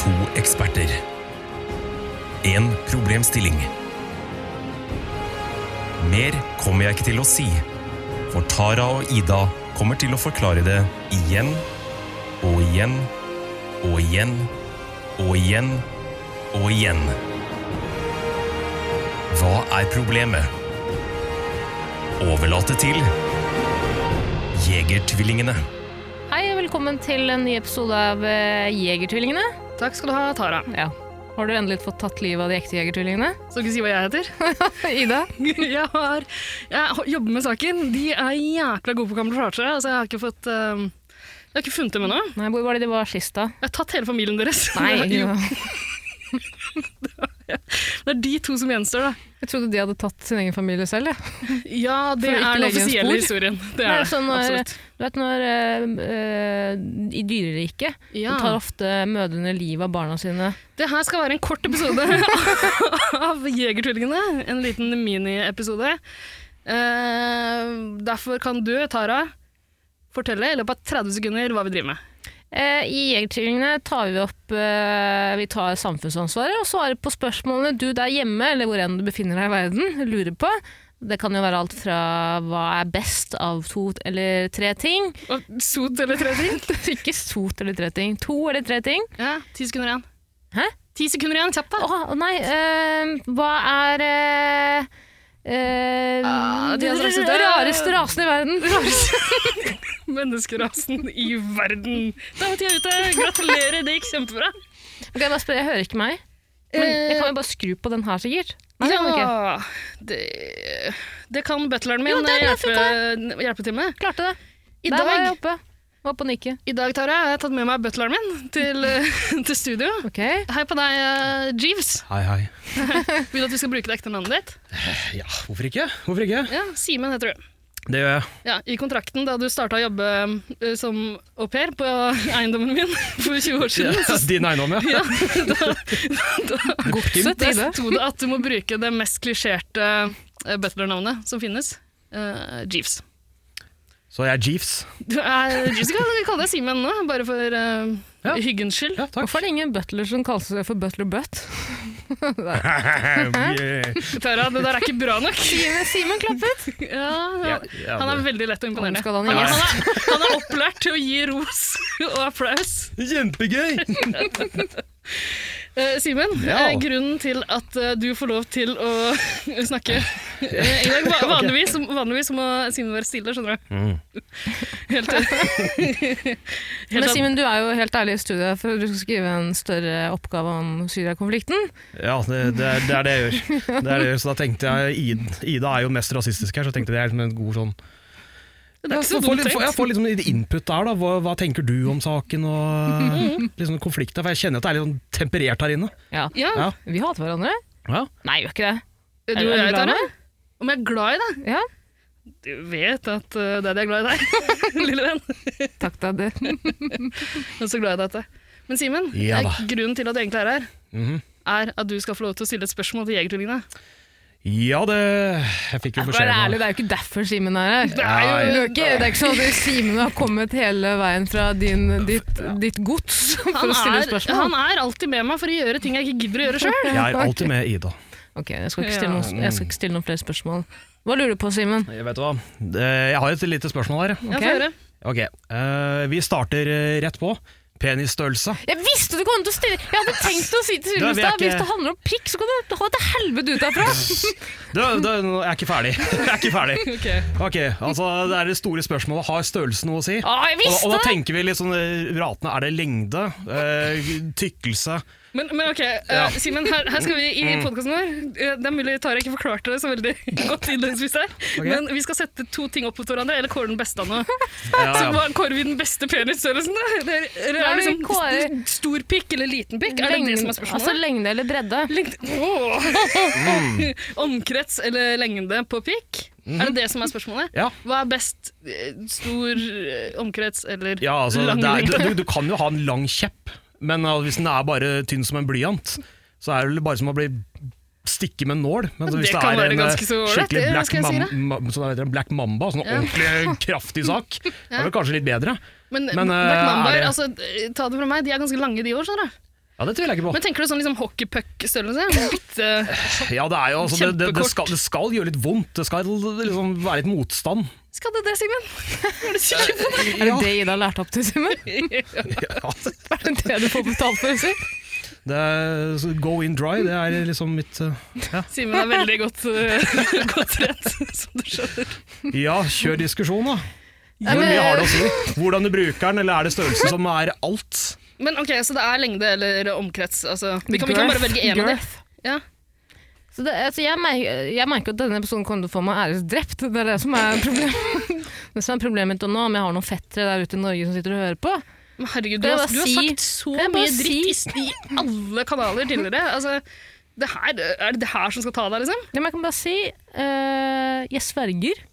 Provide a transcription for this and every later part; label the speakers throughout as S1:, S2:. S1: To eksperter. En problemstilling. Mer kommer jeg ikke til å si, for Tara og Ida kommer til å forklare det igjen og igjen og igjen og igjen og igjen. Hva er problemet? Overlate til Jegertvillingene.
S2: Hei og velkommen til en ny episode av eh, Jegertvillingene.
S3: Takk skal du ha, Tara.
S2: Ja. Har du endelig fått tatt livet av de ekte jegertvillingene?
S3: Skal ikke si hva jeg heter.
S2: Ida?
S3: Jeg, har, jeg har- jobber med saken. De er jækla gode på kamuflasje, så jeg har ikke fått eh, Jeg har ikke funnet dem ennå.
S2: Nei, hvor var det de var sist, da?
S3: Jeg har tatt hele familien deres.
S2: jo.
S3: Jo, det er de to som gjenstår, da.
S2: jeg trodde de hadde tatt sin egen familie selv. Ja.
S3: Ja, det
S2: For å ikke
S3: er den
S2: legge en
S3: offisielle
S2: spor.
S3: historien. Det
S2: Nei,
S3: er det.
S2: sånn når-
S3: Absolutt.
S2: Du vet når eh, eh, I dyreriket så
S3: Ja.
S2: tar ofte mødrene livet av barna sine.
S3: Det her skal være en kort episode av Jegertvillingene. En liten miniepisode. Eh, derfor kan du, Tara, fortelle i løpet av 30 sekunder hva vi driver med.
S2: Eh, I Jegertvillingene tar vi opp eh, vi tar samfunnsansvaret og svarer på spørsmålene du der hjemme, eller hvor enn du befinner deg i verden, lurer på. Det kan jo være alt fra hva er best av to eller tre ting.
S3: Og Sot eller tre ting?
S2: Ikke sot eller tre ting. To eller tre ting.
S3: Ja, ti sekunder igjen.
S2: Hæ?
S3: Ti sekunder igjen, kjapt
S2: Å
S3: da.
S2: nei, eh, hva er eh, eh,
S3: Ah, de
S2: den
S3: har sagt det.
S2: rareste rasen i verden.
S3: Menneskerasen i verden. Da vet jeg ute. Gratulerer, det gikk kjempebra.
S2: Ok, jeg, bare spør, jeg hører ikke meg. Men jeg kan jo bare skru på den her, sikkert. Nei, det kan jeg ikke.
S3: Ja, det, det kan butleren min
S2: Jo, den har
S3: hjelpe, hjelpe til med.
S2: Klarte det.
S3: I
S2: Der var jeg
S3: dag,
S2: oppe. Var på nikket.
S3: I dag, Tara, har jeg tatt med meg butleren min til, til studio.
S2: Ok.
S3: Hei på deg, eh, Jeeves.
S4: Hei, hei.
S3: Vil du at vi skal bruke det ekte navnet ditt?
S4: Ja, hvorfor ikke? Hvorfor ikke?
S3: Ja, Simen heter du.
S4: Det gjør jeg.
S3: Ja, I kontrakten da du starta å jobbe eh, som au pair på eiendommen min for 20 år siden, så
S4: Din eiendom, ja.
S3: ja, da, da,
S2: Godset i
S3: Der
S2: det.
S3: sto det at du må bruke det mest klisjerte eh, butler-navnet som finnes. Eh, Jeeves.
S4: Så jeg er Jeeves.
S3: Du er Jeeves, kan vi kalle deg Simen nå, bare for eh,
S4: Ja.
S3: hyggens skyld.
S4: Ja, takk.
S2: Hvorfor er det ingen butler som kaller seg for butler butt?
S4: Yeah.
S3: Tara, det der er ikke bra nok.
S2: Simen klappet.
S3: Ja,
S4: Ja, ja,
S3: han er
S4: det-
S3: veldig lett og imponerende.
S2: Skal han
S3: Han,
S2: ha
S3: er- han, er, han er opplært til å gi ros og applaus.
S4: Kjempegøy!
S3: Eh, Simen,
S4: Ja.
S3: eh, grunnen til at eh, du får lov til å snakke eh, i dag va- Vanligvis, vanligvis må Simen være stille, skjønner du.
S4: Mm.
S3: Helt,
S2: Men
S3: helt
S2: Simen, du er jo helt ærlig i studiet for du skal skrive en større oppgave om Syria-konflikten.
S4: Ja, det, det, er, det er det jeg gjør. Det er det jeg gjør. Så da tenkte jeg Ida, Ida er jo mest rasistisk her, så tenkte jeg det er liksom en god sånn
S3: Det er ikke så
S4: Få- få
S3: dumt
S4: litt- få-
S3: tenkt.
S4: Jeg får liksom litt input der, da. Hva, hva tenker du om saken og liksom konflikter? For jeg kjenner at det er litt sånn temperert her inne.
S2: Ja.
S3: Ja,
S4: Ja.
S2: Vi hater hverandre.
S4: Ja.
S2: Nei, gjør ikke det.
S3: du
S2: Er du- er du
S3: er
S2: glad i
S3: glad i meg? Om jeg er glad i deg?
S2: Ja,
S3: Du vet at uh, det er det jeg er glad i deg, lille venn.
S2: takk da. Det.
S3: Jeg er så glad i deg at det. Men Simen,
S4: Ja
S3: eh,
S4: da.
S3: grunnen til at du egentlig er her,
S4: Mhm.
S3: er at du skal få lov til å stille et spørsmål til Jegertvillingene.
S4: ja, det Jeg fikk jo
S2: Vær
S4: beskjed om
S2: ærlig,
S4: det.
S2: det er jo ikke derfor Simen er her. Det
S4: er jo-
S2: er jo ikke, det er ikke sånn at Simen har kommet hele veien fra din, ditt, ditt gods for å stille
S3: han
S2: spørsmål.
S3: er alltid med meg for å gjøre ting jeg ikke gidder å gjøre sjøl.
S4: Jeg er alltid med Ida.
S2: Ok, jeg skal ikke stille noen, jeg skal ikke stille noen flere spørsmål. Hva lurer du på, Simen?
S4: Jeg vet hva. Det- Eh, Jeg har et lite spørsmål her.
S2: Ok.
S4: Ok, eh, vi starter eh, rett på. Penisstørrelse.
S2: Jeg visste du kom til å stille Jeg hadde tenkt å si til
S4: Da,
S2: Simen
S4: vi er
S2: i stad,
S4: ikke-
S2: hvis det handler om pikk, så kan du ha det til helvete ut derfra.
S4: Du, du, nå er jeg ikke ferdig. Jeg er ikke ferdig.
S3: Ok.
S4: Ok, altså Det er det store spørsmålet. Har størrelse noe å si?
S2: Å,
S4: Og,
S2: jeg
S4: og
S2: visste
S4: da
S2: det!
S4: tenker vi litt sånn eh, ratene. Er det lengde? Eh, tykkelse?
S3: Men, men ok, eh,
S4: Ja. Mm.
S3: Simen, her, her skal vi i podkasten vår. eh, det er mulig Tara ikke forklarte det så veldig godt innledningsvis her,
S4: Ok.
S3: men vi skal sette to ting opp mot hverandre, eller kåre den beste av noe.
S4: Ja,
S3: Så
S4: ja.
S3: hva- kårer vi den beste penisstørrelsen, da? Eller, eller
S2: Nei,
S3: er det
S2: vi
S3: liksom
S2: kårer-
S3: st- stor pikk eller liten pikk? Er det det som er spørsmålet?
S2: altså lengde eller bredde?
S3: Lengde- Åh.
S4: Mm.
S3: Omkrets eller lengde på pikk? Er
S4: Mhm.
S3: det det som er spørsmålet?
S4: Ja.
S3: Hva er best eh, stor eh, omkrets eller
S4: ja, altså
S3: lang
S4: det er,
S3: lengde?
S4: du, du kan jo ha en lang kjepp, men eh, hvis den er bare tynn som en blyant, så er det vel bare som å bli stikke med en nål. Men
S3: Ja,
S4: hvis
S3: det kan være
S4: en, eh,
S3: ganske så ålreit,
S4: skikkelig
S3: det
S4: black,
S3: skal jeg si
S4: mam,
S3: deg.
S4: ma, sånn heter det, black mamba, sånn
S3: Ja.
S4: ordentlig kraftig sak, det er vel kanskje litt bedre.
S3: Men,
S4: Men,
S3: Black
S4: eh,
S3: Mamba,
S4: er det-
S3: eh, altså, ta det fra meg, de er ganske lange de òg, skjønner du.
S4: Ja, det tviler jeg ikke på.
S3: Men tenker du sånn liksom hockeypuck-størrelse? Bitte
S4: Ja, det, er jo, altså, det, det, det,
S3: Kjempekort.
S4: skal, det skal gjøre litt vondt. Det skal liksom være litt motstand.
S3: Skal det det, Simen? Er du sikker på det?
S2: Er det det Ida lærte opp til, Simen?
S4: Ja,
S2: Er det det du får betalt for? Simen?
S4: det er, så go in dry, det er liksom mitt eh,
S3: Simen er veldig godt, eh, godt trent, som du skjønner.
S4: Ja, kjør diskusjon, da.
S2: Ja,
S4: Hvor
S2: men-
S4: mye har det å si? Hvordan du bruker den, eller er det størrelsen som er alt?
S3: Men ok, så det er lengde eller omkrets? Altså, vi kan vi kan bare
S2: Girth.
S3: velge én av dem.
S2: Girth.
S3: Ja.
S2: Så det, altså jeg, merker, jeg merker at denne episoden kommer til å få meg æresdrept. Det er det som er problemet Det som er problemet mitt nå, om jeg har noen fettere der ute i Norge som sitter og hører på.
S3: Men herregud, du
S2: Kan jeg
S3: har,
S2: bare
S3: du har
S2: si-
S3: sagt så
S2: kan jeg bare
S3: mye dritt i, i alle kanaler tidligere. Altså, det her, er det det her som skal ta deg, liksom?
S2: Ja, men jeg kan bare si eh, jeg sverger.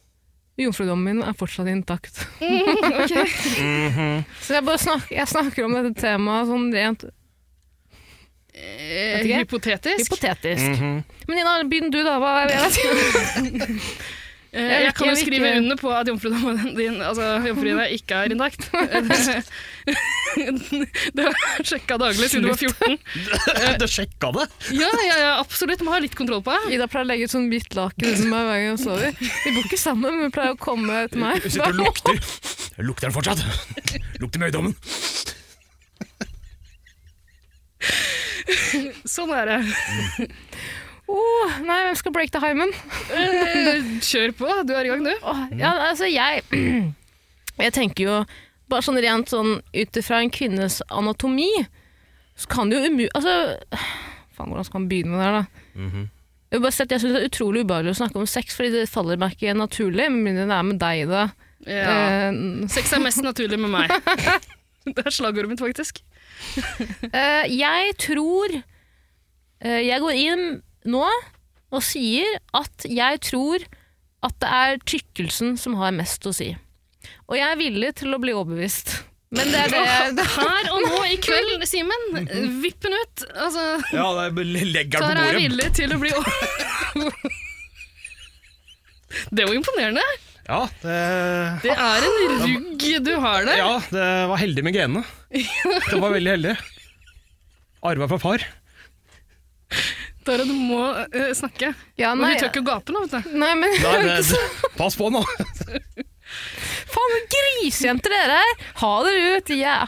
S2: Jomfrudommen min er fortsatt intakt.
S3: Mhm.
S2: Så jeg, bare snakker, jeg snakker om dette temaet sånn rent
S3: Eh,
S2: ikke.
S3: hypotetisk.
S2: hypotetisk.
S4: Mm.
S2: Men Ina, begynn du, da. Hva er det jeg sier? Jeg
S3: Eh,
S2: vil ikke-
S3: jeg kan jo
S2: jeg vil
S3: skrive
S2: ikke-
S3: under på at jomfrudommen din altså, jomfruen din ikke er intakt. det har jeg sjekka daglig siden du var 14.
S4: Du sjekka det?
S3: Ja, ja, ja, absolutt. Må ha litt kontroll på det.
S2: Ida pleier å legge ut sånn hvitt laken under meg hver gang hun sover. Vi bor ikke sammen, men hun pleier å komme til meg.
S4: Du sitter og lukter. Jeg Lukter den fortsatt? Lukter møydommen.
S3: Sånn er det.
S2: Åh, nei, hvem skal break the hymen?
S3: Eh, Kjør på. Du er i gang, du.
S2: Åh, ja, altså jeg Jeg tenker jo Bare sånn rent sånn Ut ifra en kvinnes anatomi Så kan det jo umu... Altså Faen, hvordan skal man begynne med det her da? Jeg vil bare si at jeg synes det er utrolig ubehagelig å snakke om sex Fordi det faller meg ikke naturlig Med mindre det er med deg da
S3: Ja.
S2: Eh,
S3: Sex er mest naturlig med meg. Det er slagordet mitt, faktisk.
S2: Eh, jeg tror eh, Jeg går inn nå og sier at jeg tror at det er tykkelsen som har mest å si. Og jeg er villig til å bli overbevist. Men det er det jeg det,
S3: Her og nå i kveld, Simen. Vipp den ut. Altså,
S4: Ja, legger
S3: Tara er villig til å bli over... Det var imponerende.
S4: Ja, det,
S3: Det er en rugg du har der.
S4: ja, det var heldig med genene. Det var veldig heldig. Arva fra far.
S3: Tara, du må eh, snakke.
S2: ja,
S3: Men
S2: nei,
S3: du tør ikke å gape nå, vet du.
S2: nei, men
S4: Nei, det, det, pass på nå.
S2: faen, men grisejenter dere er! Ha dere ut! Ja.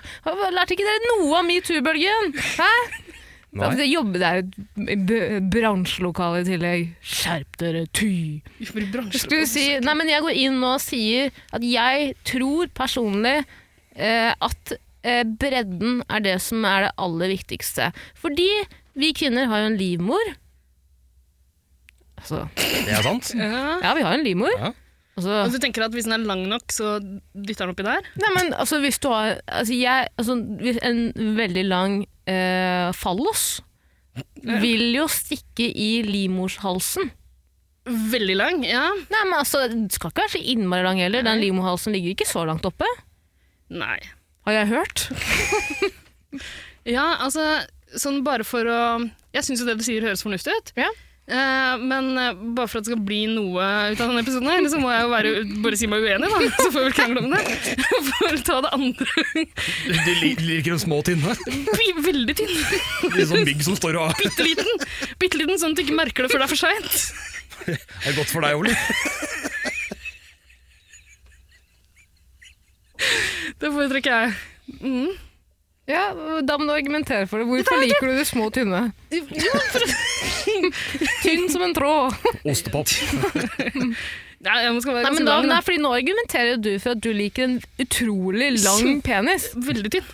S2: Lærte ikke dere noe av metoo-bølgen? Hæ?
S4: Nei.
S2: Dere jobber der i et b- bransjelokale i tillegg. Skjerp dere, ty!
S3: Vi får i bransjen.
S2: skulle si, nei, men jeg går inn nå og sier at jeg tror personlig eh, at eh, bredden er det som er det aller viktigste. Fordi vi kvinner har jo en livmor. Altså,
S4: Det er sant.
S3: Ja.
S2: ja, vi har en livmor.
S4: Ja.
S2: Altså,
S3: Og du tenker at hvis den er lang nok, så dytter den oppi der?
S2: nei, men altså, hvis du har altså, jeg, altså, hvis En veldig lang eh, fallos vil jo stikke i livmorshalsen.
S3: Veldig lang, ja.
S2: Nei, men altså, Den skal ikke være så innmari lang heller. Den livmorhalsen ligger ikke så langt oppe,
S3: Nei.
S2: har jeg hørt.
S3: Ja, altså, sånn bare for å Jeg syns jo det du sier høres fornuftig ut.
S2: Ja.
S3: Eh, men eh, bare for at det skal bli noe ut av denne episoden, her, så må jeg jo være, bare si meg uenig, da. Så får vi vel krangle om det. For å ta det andre
S4: Du du lik- liker de små og tynne.
S3: Bli veldig tynn.
S4: De sånn bygg som står og
S3: Bitte liten. Bitte liten, sånn at du ikke merker det før det er for seint.
S4: er godt for deg, Ole.
S3: Det foretrekker jeg. Mm.
S2: Ja, Da må du argumentere for det. Hvorfor liker du de små og tynne? Tynn som en tråd.
S4: Ostepop.
S3: Nei, jeg må skal være
S2: Nei,
S3: ganske
S2: men da,
S3: lang,
S2: nei,
S3: da.
S2: fordi Nå argumenterer jo du for at du liker en utrolig lang penis.
S3: Veldig tynn.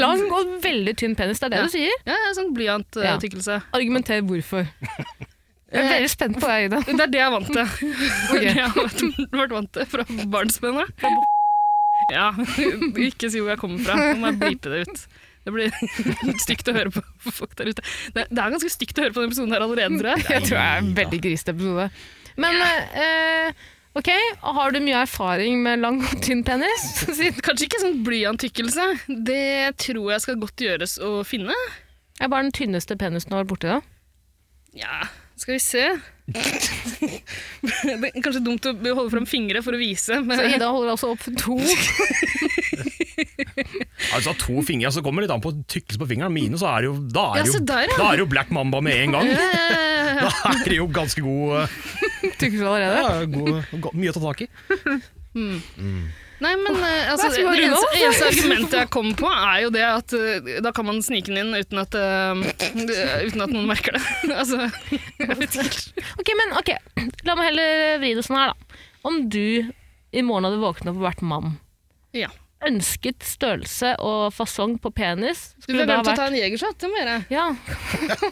S2: Lang og veldig tynn penis, det er det
S3: Ja.
S2: du sier.
S3: Ja, ja, sånn
S2: Ja.
S3: blyanttykkelse.
S2: Argumenter hvorfor. Jeg er veldig spent på deg, Ida.
S3: Det er det jeg er vant til. Det er det jeg har vært- vært vant til fra barnsbena. Ja, ikke si hvor jeg kommer fra. Nå må jeg blipe det ut. Det blir stygt å høre på for folk der ute. Det, det er ganske stygt å høre på denne episoden her allerede, tror jeg.
S2: Jeg tror det er en veldig grisete episode. Men eh, ok, har du mye erfaring med lang og tynn penis? Siden-
S3: Kanskje ikke sånn blyantykkelse. Det tror jeg skal godt gjøres å finne.
S2: Jeg er bare den tynneste penisen du har vært borti, da.
S3: Ja, skal vi se. Det er kanskje dumt å holde fram fingre for å vise.
S2: Så
S3: Men
S2: Ida holder altså opp to.
S4: Altså To fingre, så kommer det litt an på tykkelse på fingrene. Mine, så er det jo Da er,
S3: Ja,
S4: det jo,
S3: se der, ja.
S4: da er det jo black mamba med en gang.
S3: Eh,
S4: Da er det jo ganske god, eh,
S2: Tykkelse allerede.
S4: ja, god, go- Mye å ta tak i.
S3: Nei, men eh, altså,
S2: Hva
S3: det
S2: skal vi gjøre
S3: eneste,
S2: nå?
S3: eneste argumentet jeg kom på, er jo det at eh, da kan man snike den inn uten at, eh, uten at noen merker det. altså, jeg vet ikke.
S2: Ok, men ok, la meg heller vri det sånn her da. Om du i morgen hadde våknet opp og vært mann,
S3: Ja.
S2: ønsket størrelse og fasong på penis,
S3: Du
S2: skulle
S3: vil
S2: det ha
S3: vente å
S2: vært...
S3: ta en jegershot, det må jeg gjøre.
S2: Ja,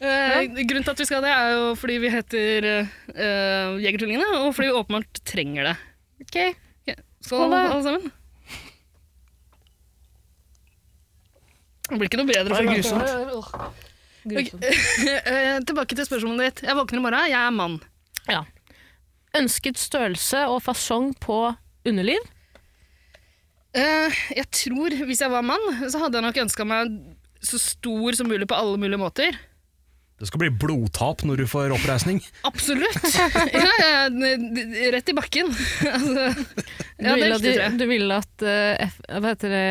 S3: Eh, grunnen til at vi skal det, er jo fordi vi heter eh, Jegertvillingene, og fordi vi åpenbart trenger det.
S2: ok.
S3: Ok, Skål,
S2: Skål, da.
S3: alle sammen. Det blir ikke noe bedre for grusomt. Eh, tilbake til spørsmålet ditt. Jeg våkner i morgen, jeg er mann.
S2: Ja. Ønsket størrelse og fasong på underliv?
S3: Eh, jeg tror, hvis jeg var mann, så hadde jeg nok ønska meg så stor som mulig på alle mulige måter.
S4: Det skal bli blodtap når du får oppreisning.
S3: Absolutt! ja, ja, n- d- rett i bakken. altså,
S2: Du
S3: ja, det
S2: ville
S3: er
S2: at,
S3: viktig, tror jeg.
S2: de- du ville at eh, F, Hva heter det?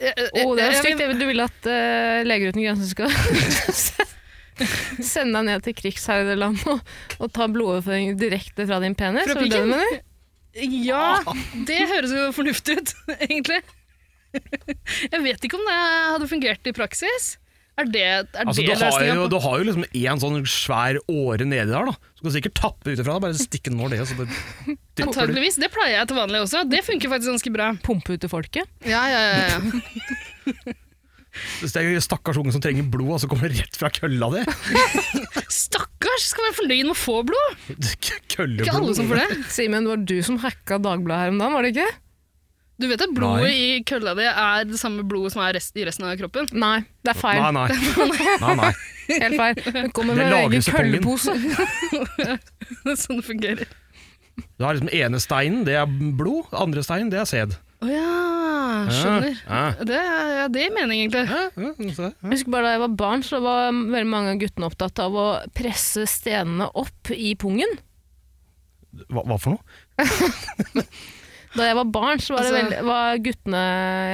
S3: Eh,
S2: Å, Oh, det er
S3: eh,
S2: jo stygt.
S3: jeg-
S2: Du ville at eh, Leger uten grenser skal sende deg ned til krigsherreland og, og ta blodoverføring direkte fra din penis?
S3: Fra
S2: er det det du
S3: pikken?
S2: mener?
S3: Ja, det høres jo fornuftig ut, egentlig. Jeg vet ikke om det hadde fungert i praksis. Er det, er
S4: Altså, du,
S3: det
S4: har jo,
S3: løsninga?
S4: du har jo liksom én sånn svær åre nedi der, da. Så kan du sikkert tappe ut ifra deg. Bare stikke den over det, og så bare dypper du.
S3: Antakeligvis. Det pleier jeg til vanlig også. Det funker faktisk ganske bra.
S2: Pumpe ut til folket?
S3: Ja, ja, ja, ja.
S4: Hvis det er stakkars unge som trenger blod, og så kommer det rett fra kølla di.
S3: Stakkars! Skal være fornøyd med å få blod.
S4: Kølleblod.
S3: Ikke alle som får det.
S2: Simen, det var du som hacka Dagbladet her om dagen, var det ikke?
S3: Du vet at blodet i kølla di er det samme blodet som er rest, i resten av kroppen?
S2: Nei, det er feil.
S4: Nei, nei. nei, nei.
S2: Helt feil. Det kommer
S4: Det
S2: med en egen
S4: lagres i pongen.
S2: køllepose.
S3: Det er sånn det fungerer.
S4: Du har liksom ene steinen, det er blod. Andre steinen, det er sæd.
S3: Å ja, Ah, skjønner.
S4: Ja, ja.
S3: Det, er- ja, det er meningen, egentlig.
S4: Ja, ja, se.
S2: Jeg husker bare Da jeg var barn, så var veldig mange av guttene opptatt av å presse stenene opp i pungen.
S4: Hva, hva for noe?
S2: Da jeg var barn, så var, det
S3: Altså-
S2: veldig, var guttene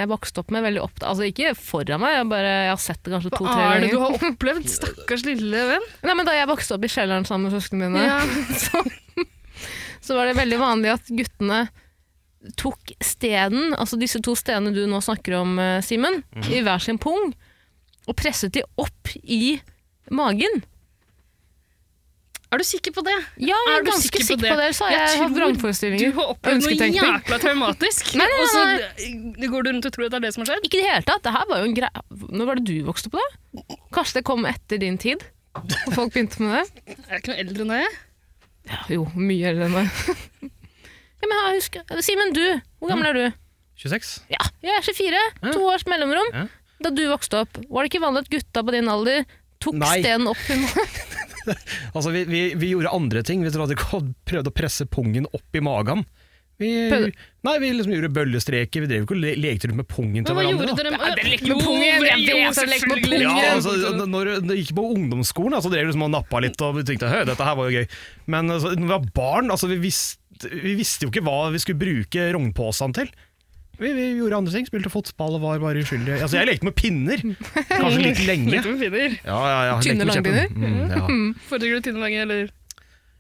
S2: jeg vokste opp med, veldig opptatt Altså ikke foran meg, jeg, bare, jeg har sett det kanskje
S3: Hva
S2: to-tre
S3: er det du
S2: ganger.
S3: har opplevd, stakkars lille venn?
S2: Nei, men Da jeg vokste opp i kjelleren sammen med søsknene mine,
S3: Ja.
S2: så, så var det veldig vanlig at guttene tok stenen, altså disse to stenene du nå snakker om, eh, Simen, i hver sin pung, og presset de opp i magen.
S3: Er du sikker på det?
S2: Ja, jeg er, ganske sikker på det. så har jeg,
S3: Jeg
S2: hatt
S3: tror Du
S2: vrangforestillinger.
S3: har opplevd noe
S2: Ønsketenkning.
S3: jækla traumatisk,
S2: Nei, nei, nei,
S3: og så d- går du rundt og tror at det er det som har skjedd?
S2: Ikke i det hele tatt. Det her var jo en greie Når var det du vokste opp, da? Kanskje det kom etter din tid? Og folk begynte med det?
S3: Jeg er ikke noe eldre enn deg. jeg.
S2: Ja, jo, mye eldre enn meg. Ja, men jeg husker Simen, du. Hvor gammel er du?
S4: 26?
S2: Ja, jeg er 24. To års mellomrom.
S4: Ja.
S2: Da du vokste opp, var det ikke vanlig at gutta på din alder tok
S4: Nei.
S2: stenen opp i magen?
S4: Altså, vi, vi, vi gjorde andre ting. Vi hadde ikke prøvd å presse pungen opp i magen. Vi,
S2: Prøvde-
S4: nei, vi liksom gjorde bøllestreker. Vi drev ikke og le lekte rundt med pungen til
S3: Men hva
S4: hverandre.
S3: gjorde
S4: da.
S3: dere med
S2: dere lekte med pungen, jeg vet at dere lekte med pungen.
S4: Ja,
S2: Ingen-
S4: altså, n- når du gikk på ungdomsskolen, så drev du liksom og nappa litt og tenkte høy, dette her var jo gøy. Men altså, når vi var barn, altså, vi, visste, vi visste jo ikke hva vi skulle bruke rognposene til. Vi, vi gjorde andre ting, spilte fotball og var bare uskyldige. Altså, jeg lekte med pinner, kanskje litt lenge.
S3: Lekte med pinner.
S4: Ja, ja, ja,
S2: Tynne
S4: lekte med kjeppen. Mm, ja.
S3: Foretrekker du tynne lange, eller?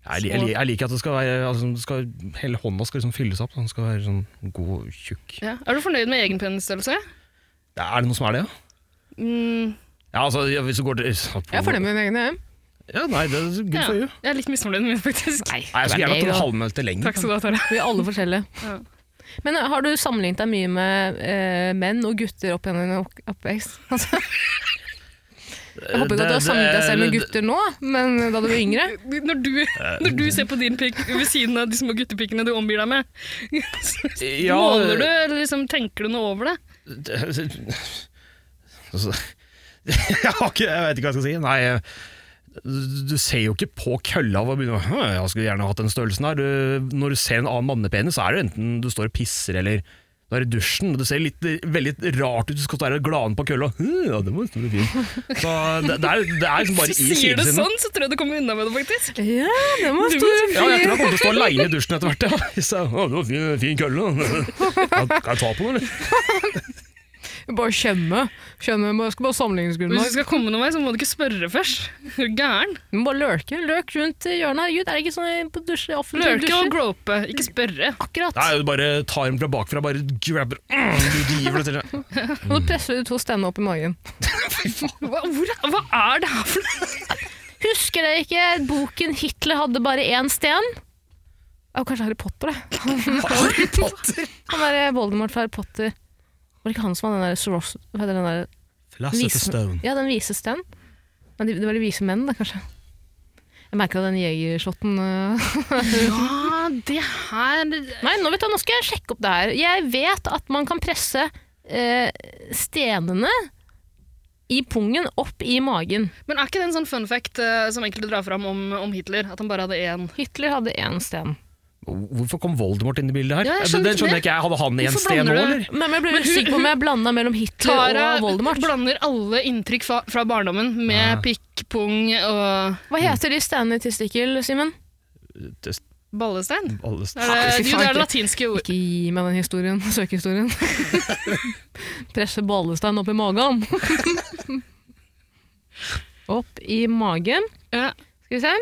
S4: Jeg, li- jeg, li- jeg liker at det skal være altså, det skal, Hele hånda skal liksom fylles opp. så Den skal være sånn god og tjukk.
S3: Ja. Er du fornøyd med egen penisstørrelse?
S4: Ja, Er det noe som er det, ja?
S3: Mm,
S4: Ja, altså, ja, hvis du går til
S2: Jeg er fornøyd med mine egne.
S4: Ja, nei, det er good
S3: ja.
S4: for you.
S3: Jeg er litt misfornøyd med min, faktisk.
S2: Nei,
S4: Nei, jeg skulle gjerne hatt en
S2: da.
S4: halvmeter lenger.
S3: Takk skal du ha, Tara.
S2: Vi er alle forskjellige.
S3: Ja.
S2: Men eh, har du sammenlignet deg mye med eh, menn og gutter opp gjennom din opp- oppvekst? Altså, jeg håper ikke at du har sammenlignet deg selv med gutter nå, men da du var yngre.
S3: Når du, når du ser på din pikk ved siden av de små guttepikkene du omgir deg med, så
S4: Ja,
S3: måler du, eller liksom, tenker du noe over det?
S4: det- altså, jeg, har ikke, jeg vet ikke hva jeg skal si. Nei, du- du ser jo ikke på kølla og begynner å «Hm, Jeg skulle gjerne hatt den størrelsen her. Du, når du ser en annen mannepenis, så er det enten du står og pisser eller Du er i dusjen, og det ser litt, veldig rart ut. Du skal stå her og glane på kølla. «Hm, Ja, det var stor og fin. Så det, det, er, det er liksom bare i
S3: Hvis du sier det
S4: kilesiden.
S3: sånn, så tror jeg du kommer unna med det, faktisk.
S2: Ja, det må stå
S4: Ja, jeg tror jeg kommer til å stå aleine i dusjen etter hvert. Ja. Hvis jeg, å, det var fin, fin kølle. da.» Kan, kan jeg ta på den, eller?
S2: Bare skjemme. Skjønne, bare- skal bare ha
S3: Hvis
S2: sammenligningsgrunnlag.
S3: du skal komme noen vei, så må du ikke spørre først. Er du gæren?
S2: Du må bare lørke. Løk rundt i hjørnet. Herregud, er det ikke sånn på dusj, offentlig
S3: Lurke og grope, ikke spørre.
S2: Akkurat.
S4: Nei, du bare tar den fra bakfra, bare grabber mm, Du driver det til seg.
S2: Og nå presser du to stemmene opp i magen.
S3: Hva, hvor, hva er det her for noe?
S2: Husker dere ikke boken 'Hitler hadde bare én sten'? Ja, kanskje Harry Potter, det.
S4: Harry Potter!
S2: Han der eh, Voldemort fra Harry Potter. Var det ikke han som hadde den der Soros... Hva heter den der
S4: Ah,
S2: Visen- Ja, den vise sten. Men de, det var de vise menn, da, kanskje. Jeg merka den jegerslotten øh.
S3: Ja, det her
S2: Nei, nå, vet du, nå skal jeg sjekke opp det her. Jeg vet at man kan presse øh, stenene i pungen opp i magen.
S3: Men er ikke det en sånn fun fact eh, som enkelte drar fram om, om Hitler? At han bare hadde én?
S2: Hitler hadde én sten.
S4: Hvorfor kom Voldemort inn i bildet her?
S3: Ja, jeg
S4: Den- den
S3: skjønte
S4: skjønner
S3: det.
S4: jeg ikke. Hadde han igjen
S3: Hvorfor
S4: sted nå,
S3: blander du-
S4: eller?
S2: Nei, men jeg ble
S3: Men
S2: usikker på om jeg blanda mellom Hitler
S3: Tara
S2: og Voldemort.
S3: blander alle inntrykk fra, fra barndommen med
S4: Ja.
S3: pikk, pung og
S2: Hva heter de stenene i testikkel, Simen?
S4: Det-
S3: ballestein.
S4: alle-
S3: Er eh,
S2: fy faen,
S3: det, jo, det er
S2: ikke-
S3: det latinske ord.
S2: Ikke gi meg den historien, søkehistorien. Presse ballestein opp i magen. opp i magen.
S3: Ja.
S2: Skal vi se.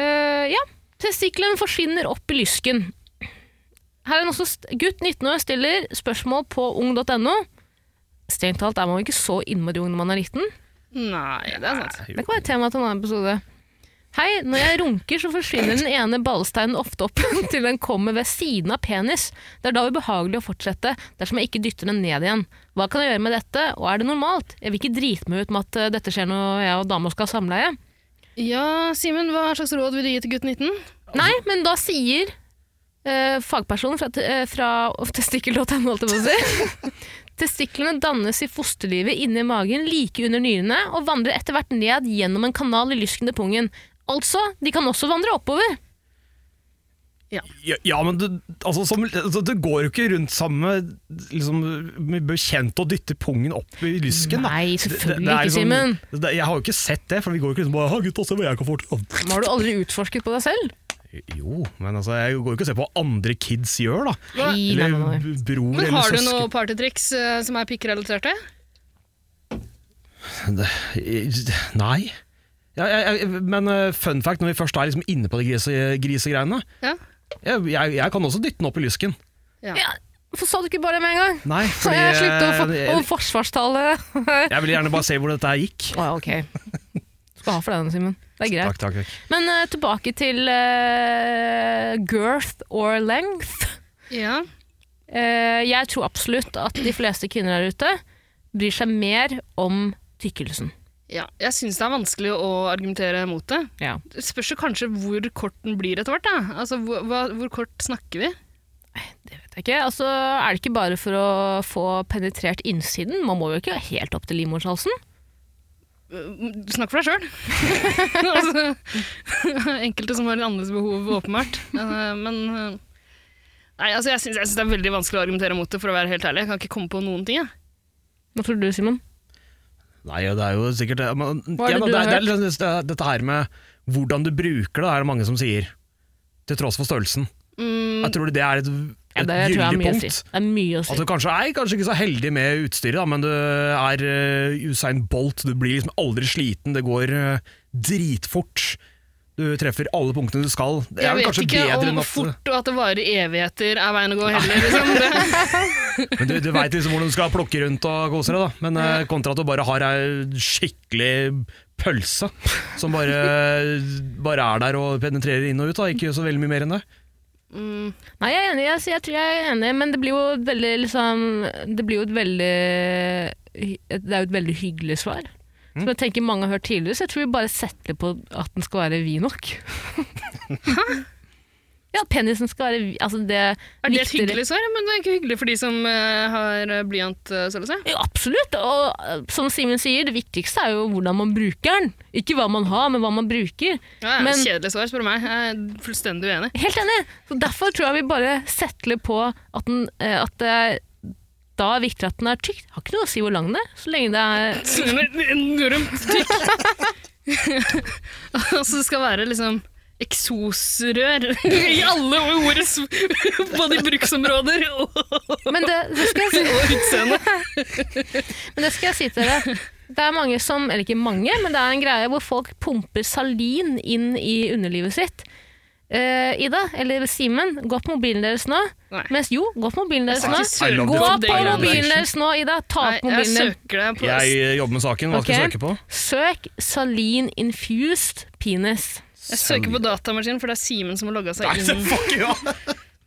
S2: Eh, ja. Testikkelen forsvinner opp i lysken. Her er den også st gutt 19 år stiller spørsmål på ung.no. Strengt talt er man jo ikke så innmari ung når man er liten.
S3: Nei, det er sant.
S2: Det kan være et tema til en annen episode. Hei, når jeg runker så forsvinner den ene ballsteinen ofte opp til den kommer ved siden av penis. Det er da ubehagelig å fortsette dersom jeg ikke dytter den ned igjen. Hva kan jeg gjøre med dette, og er det normalt? Jeg vil ikke drite meg ut med at eh, dette skjer når jeg og dama skal ha samleie.
S3: Ja, Simen, hva slags råd vil du gi til gutt 19?
S2: Nei, men da sier eh, fagpersonen fra, te- eh, fra testikkel.no, holdt jeg på å si Testiklene dannes i fosterlivet inni magen like under nyrene og vandrer etter hvert ned gjennom en kanal i lysken til pungen. Altså, de kan også vandre oppover.
S4: Ja, ja, men det, altså, som, altså, det går jo ikke rundt sammen med liksom, med bekjente og dytter pungen opp i lysken. Da.
S2: Nei,
S4: Det- det-
S2: selvfølgelig
S4: det er liksom- sånn- Altså,
S2: ikke, Simen.
S4: det- Jeg har jo ikke sett det, for vi går jo ikke liksom bare «Ha, gutta, se hva jeg kan få til.
S2: Men Har du aldri utforsket på deg selv?
S4: Jo, men altså, jeg går jo ikke og ser på hva andre kids gjør, da.
S2: Nei, nei,
S4: Eller
S2: nei.
S4: b- bror
S3: Men
S4: eller
S3: har du
S4: søsken.
S3: noe partytriks eh, som er pikkrelaterte?
S4: Det- Nei. Ja, jeg, jeg, men eh, fun fact, når vi først er liksom inne på de grise, grisegreiene
S3: Ja.
S4: jeg, jeg, jeg kan også dytte den opp i lysken.
S2: Ja, Hvorfor sa du ikke bare det med en gang?
S4: Nei,
S2: Så
S4: fordi
S2: jeg sluttet å få
S4: eh,
S2: å, forsvarstallet. Å,
S4: jeg ville gjerne bare se hvor dette her gikk.
S2: ja, ok. Skal ha for den, Simen. Det er greit.
S4: Takk, takk, takk.
S2: Men eh, tilbake til eh, girth or length.
S3: Ja.
S2: Eh, jeg tror absolutt at de fleste kvinner der ute bryr seg mer om tykkelsen.
S3: ja. Jeg syns det er vanskelig å argumentere mot det.
S2: Ja.
S3: Det spørs jo kanskje hvor kort den blir etter hvert. da. Altså, hvor, hva, hvor kort snakker vi?
S2: Det vet jeg ikke. Altså, er det ikke bare for å få penetrert innsiden? Man må jo ikke helt opp til livmorshalsen.
S3: Du snakker for deg sjøl. altså, enkelte som har litt annerledes behov, åpenbart. Eh, Men eh, Nei, altså, jeg syns jeg syns det er veldig vanskelig å argumentere mot det, for å være helt ærlig. Jeg kan ikke komme på noen ting. Jeg.
S2: Hva tror du, Simon?
S4: Nei, ja, det er jo sikkert det, men,
S2: Hva
S4: ja,
S2: er det
S4: men
S2: du
S4: det,
S2: har
S4: det, er liksom det- Dette her med hvordan du bruker det, er det mange som sier. Til tross for størrelsen.
S3: Mm,
S4: Jeg tror det er et,
S2: Ja,
S4: et
S2: det jeg tror jeg har
S4: gyldig
S2: mye å
S4: punkt. Altså,
S2: si. Det er mye å
S4: At
S2: si.
S4: du kanskje er kanskje ikke så heldig med utstyret, da, men du er eh, Usain Bolt. Du blir liksom aldri sliten, det går eh, dritfort. Du treffer alle punktene du skal. Det
S3: jeg
S4: er vel
S3: vet
S4: kanskje
S3: ikke
S4: bedre
S3: om
S4: enn at
S3: fort og at det varer i evigheter er veien å gå heller. Liksom. Det,
S4: Men Du, du veit liksom hvordan du skal plukke rundt og kose deg, da. Men eh, kontra at du bare har ei skikkelig pølse som bare, bare er der og penetrerer inn og ut. da Ikke så veldig mye mer enn det.
S3: mm,
S2: Nei, jeg er enig, jeg, jeg tror jeg er enig, men det blir jo et veldig liksom, Det blir jo et veldig Det er jo et veldig hyggelig svar. Som jeg tenker mange har hørt tidligere, så jeg tror vi bare setter på at den skal være vid nok. Ja, at penisen skal være altså det
S3: Er det et
S2: viktigere-
S3: hyggelig svar? Men det er ikke hyggelig for de som eh, har eh, blyant, uh, selv seg.
S2: Ja, absolutt. Og eh, som Simen sier, det viktigste er jo hvordan man bruker den. Ikke hva man har, men hva man bruker.
S3: Ja, ja,
S2: Men-
S3: Kjedelig svar, spør du meg. Jeg er fullstendig uenig.
S2: Helt enig. Så derfor tror jeg vi bare settler på at, den, eh, at det er da er det viktigere at den er tykk. Har ikke noe å si hvor lang den er. Så lenge det er
S3: Enormt tykk. altså, det skal være liksom eksosrør i alle ordets både bruksområder og,
S2: Men det, det skal jeg si.
S3: og utseende.
S2: Men det skal jeg si til dere. Det er mange som, eller ikke mange, men det er en greie hvor folk pumper salin inn i underlivet sitt. Eh, Ida, eller Simen, gå på mobilen deres nå.
S3: Nei.
S2: Mens jo, gå på mobilen deres nå.
S3: Faktisk
S4: I
S3: søker
S4: love
S2: sånn Gå
S4: you.
S3: på
S2: på
S3: dating.
S2: mobilen deres nå, Ida. Ta
S3: Nei,
S2: opp
S3: jeg
S2: mobilen din.
S3: søker deg på jeg,
S4: Jeg eh, jobber med saken, hva skal jeg
S2: Ok.
S4: søke på?
S2: Søk salin infused penis.
S3: søker på datamaskinen, for det er Simen som har logga seg
S4: Nei, så
S3: inn.
S4: fuck ja!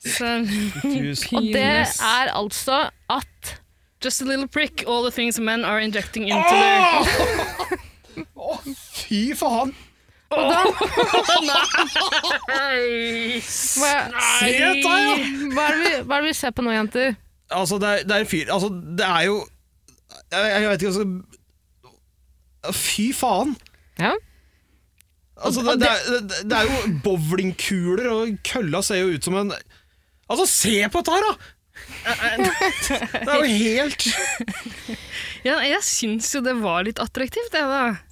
S3: Så,
S4: Tusen.
S2: Og det
S3: Penis.
S2: er altså at
S3: Just a little prick, all the things men are injecting into their
S4: Fy faen!
S2: Hva,
S4: Nei, dette er jo-
S2: hva, er det vi, hva er det vi ser på nå, jenter?
S4: Altså, det er, det er en fyr Altså, det er jo Jeg, jeg vet ikke, altså Fy faen!
S2: Ja.
S4: Altså, det, det, er, det, det er jo bowlingkuler, og kølla ser jo ut som en Altså, se på dette her, da! Det er jo helt
S3: Ja, jeg syns jo det var litt attraktivt, jeg, da.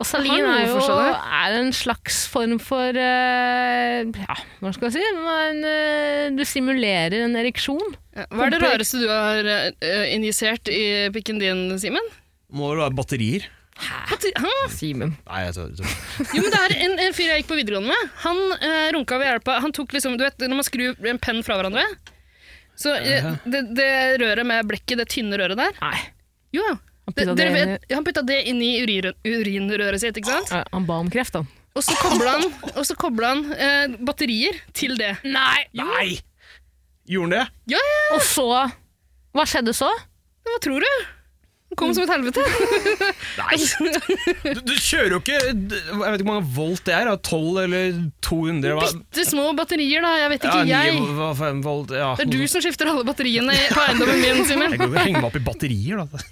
S2: Og salin
S3: Har noe
S2: er jo
S3: for seg der.
S2: er en slags form for eh, Ja, hva skal jeg si? Men, eh, du simulerer en ereksjon.
S3: Ja, Hva er det
S2: Kompleks.
S3: rareste du har eh, injisert i pikken din, Simen?
S4: Må vel være batterier?
S3: Hva ty- hæ?
S2: Simen.
S4: Nei, jeg tror ikke
S3: Jo, men det er en, en fyr jeg gikk på videregående med. Han eh, runka ved hjelp av Han tok liksom Du vet når man skrur en penn fra hverandre? Så eh, det, det røret med blekket, det tynne røret der
S2: Nei.
S3: Jo, ja.
S2: Han
S3: Det,
S2: putta det
S3: dere
S2: inn
S3: vet, han putta det inn i urinrø- urinrøret sitt, ikke sant?
S2: Ja, Eh, Han ba om kreft, han.
S3: Og så kobla han, og så kobla han eh, batterier til det.
S2: Nei!
S4: Nei! Gjorde han det?
S3: Ja, ja,
S2: Og så Hva skjedde så?
S3: hva tror du? Han kom som et helvete. Nei.
S4: Du, du kjører jo ikke d- Jeg vet ikke hvor mange volt det er. da, 12 eller 200? Hva?
S3: Bitte små batterier, da. Jeg vet
S4: Ja,
S3: ikke,
S4: 9
S3: jeg.
S4: hva, fem volt ja.
S3: Det er du som skifter alle batteriene i- på eiendommen min, Simen.
S4: Jeg kan jo henge meg opp i batterier, da.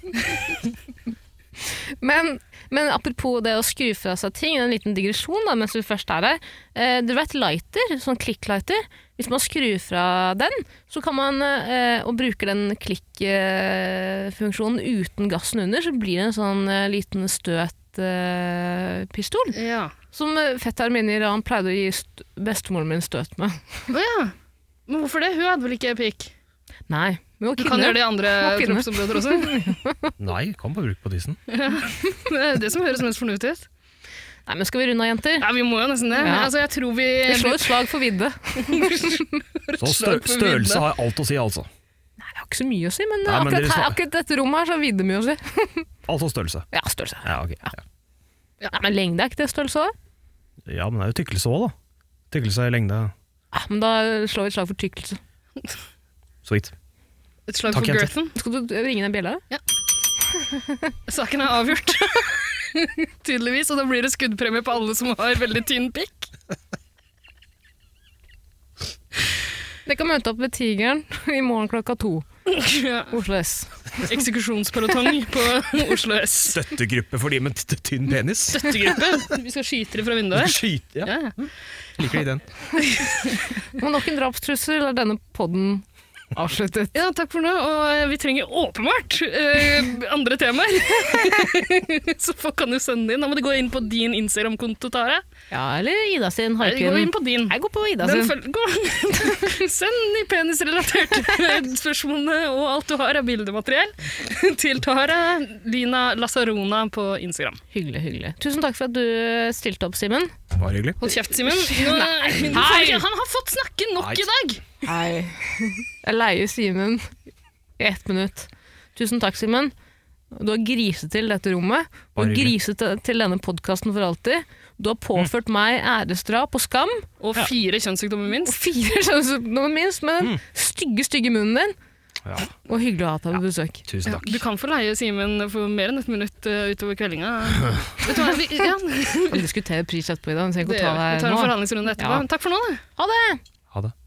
S2: Men, men apropos det å skru fra seg ting, en liten digresjon da, mens vi først er her. Eh, du vet lighter, sånn klikklighter? Hvis man skrur fra den, så kan man, eh, og bruker den klikkfunksjonen uten gassen under, så blir det en sånn eh, liten støtpistol. Eh, pistol,
S3: Ja.
S2: som eh, fetteren min i Iran pleide å gi st bestemoren min støt med.
S3: Å ja. Men hvorfor det? Hun hadde vel ikke pikk?
S2: Nei, men jo
S3: Du kan
S2: kvinner.
S3: gjøre det i andre
S2: Hun var kvinne.
S3: kroppsområder også.
S4: Nei, kan bare bruke på tissen.
S3: Det er det som høres mest fornuftig ut.
S2: Nei, men skal vi runde av, jenter?
S3: Ja, vi må jo nesten det.
S2: Ja.
S3: Altså, jeg tror vi
S2: Vi slår et slag for vidde. Nei,
S4: Så
S3: slett på størrelse vidde.
S4: har alt å si, altså.
S2: det har ikke så mye å si, men,
S4: Nei, men
S2: akkurat,
S4: dere
S2: her,
S4: sa-
S2: akkurat dette rommet her så har vidde mye å si.
S4: Alt og størrelse.
S2: Ja, størrelse.
S4: Ja, ok. Ja.
S2: Nei, men lengde er ikke det størrelse òg?
S4: Ja, men det er jo tykkelse òg, da. Tykkelse i lengde.
S2: Ja, men da slår vi et slag for tykkelse.
S4: Så vidt.
S3: et slag
S4: Takk,
S3: for
S4: jenter.
S3: girthen.
S2: Skal du ringe den bjella?
S3: Saken er avgjort. Tydeligvis. Og da blir det skuddpremie på alle som har veldig tynn pikk.
S2: Dere kan møte opp ved Tigeren i morgen klokka to.
S3: Ja.
S2: Oslo S.
S3: Eksekusjonsparotong på Oslo S.
S4: Støttegruppe for de med t- tynn penis.
S3: Støttegruppe. Vi skal skyte det fra vinduet.
S4: Skyt, ja,
S3: Ja, ja.
S4: liker de den.
S2: Og nok en drapstrussel er denne podden avsluttet.
S3: Ja, takk for nå. Og vi trenger åpenbart eh, andre temaer. så folk kan jo sende inn. Da må de gå inn på din Instagram-konto, Tare.
S2: Ja, eller Ida sin
S3: Nei, de går
S2: haiken.
S3: inn på din.
S2: Jeg går på Ida
S3: Den
S2: sin.
S3: føl gå. Send de penisrelaterte spørsmålene og alt du har av bildemateriell til Tara Lina Lasarona på Instagram.
S2: Hyggelig, hyggelig. Tusen takk for at du eh, stilte opp, Simen.
S4: Var hyggelig.
S3: Hold kjeft, Simen. Nå- du får ikke- Han har fått snakke nok
S4: Nei.
S3: i dag!
S2: Hei. Jeg leier Simen i ett minutt. Tusen takk, Simen. Du har griset til dette rommet. Du har
S4: Bare hyggelig. Mm.
S2: griset til denne podkasten for alltid. Du har påført meg æresdrap og skam.
S3: Og fire kjønnssykdommer
S2: Og
S3: minst.
S2: fire kjønnssykdommer minst, med
S3: Mm.
S2: den stygge, stygge munnen din.
S4: Ja,
S2: Og hyggelig å ha deg på besøk.
S4: tusen takk.
S3: Du kan få leie Simen for mer enn et minutt eh, utover kveldinga. Vet du hva, vi, ja.
S2: Vi diskuterer pris etterpå i dag, så jeg
S3: Det
S2: kan
S3: gjør vi.
S2: ta
S3: Vi tar en
S2: deg nå.
S3: forhandlingsrunde etterpå.
S2: Ja.
S3: Men Takk for nå, da.
S2: Ha det!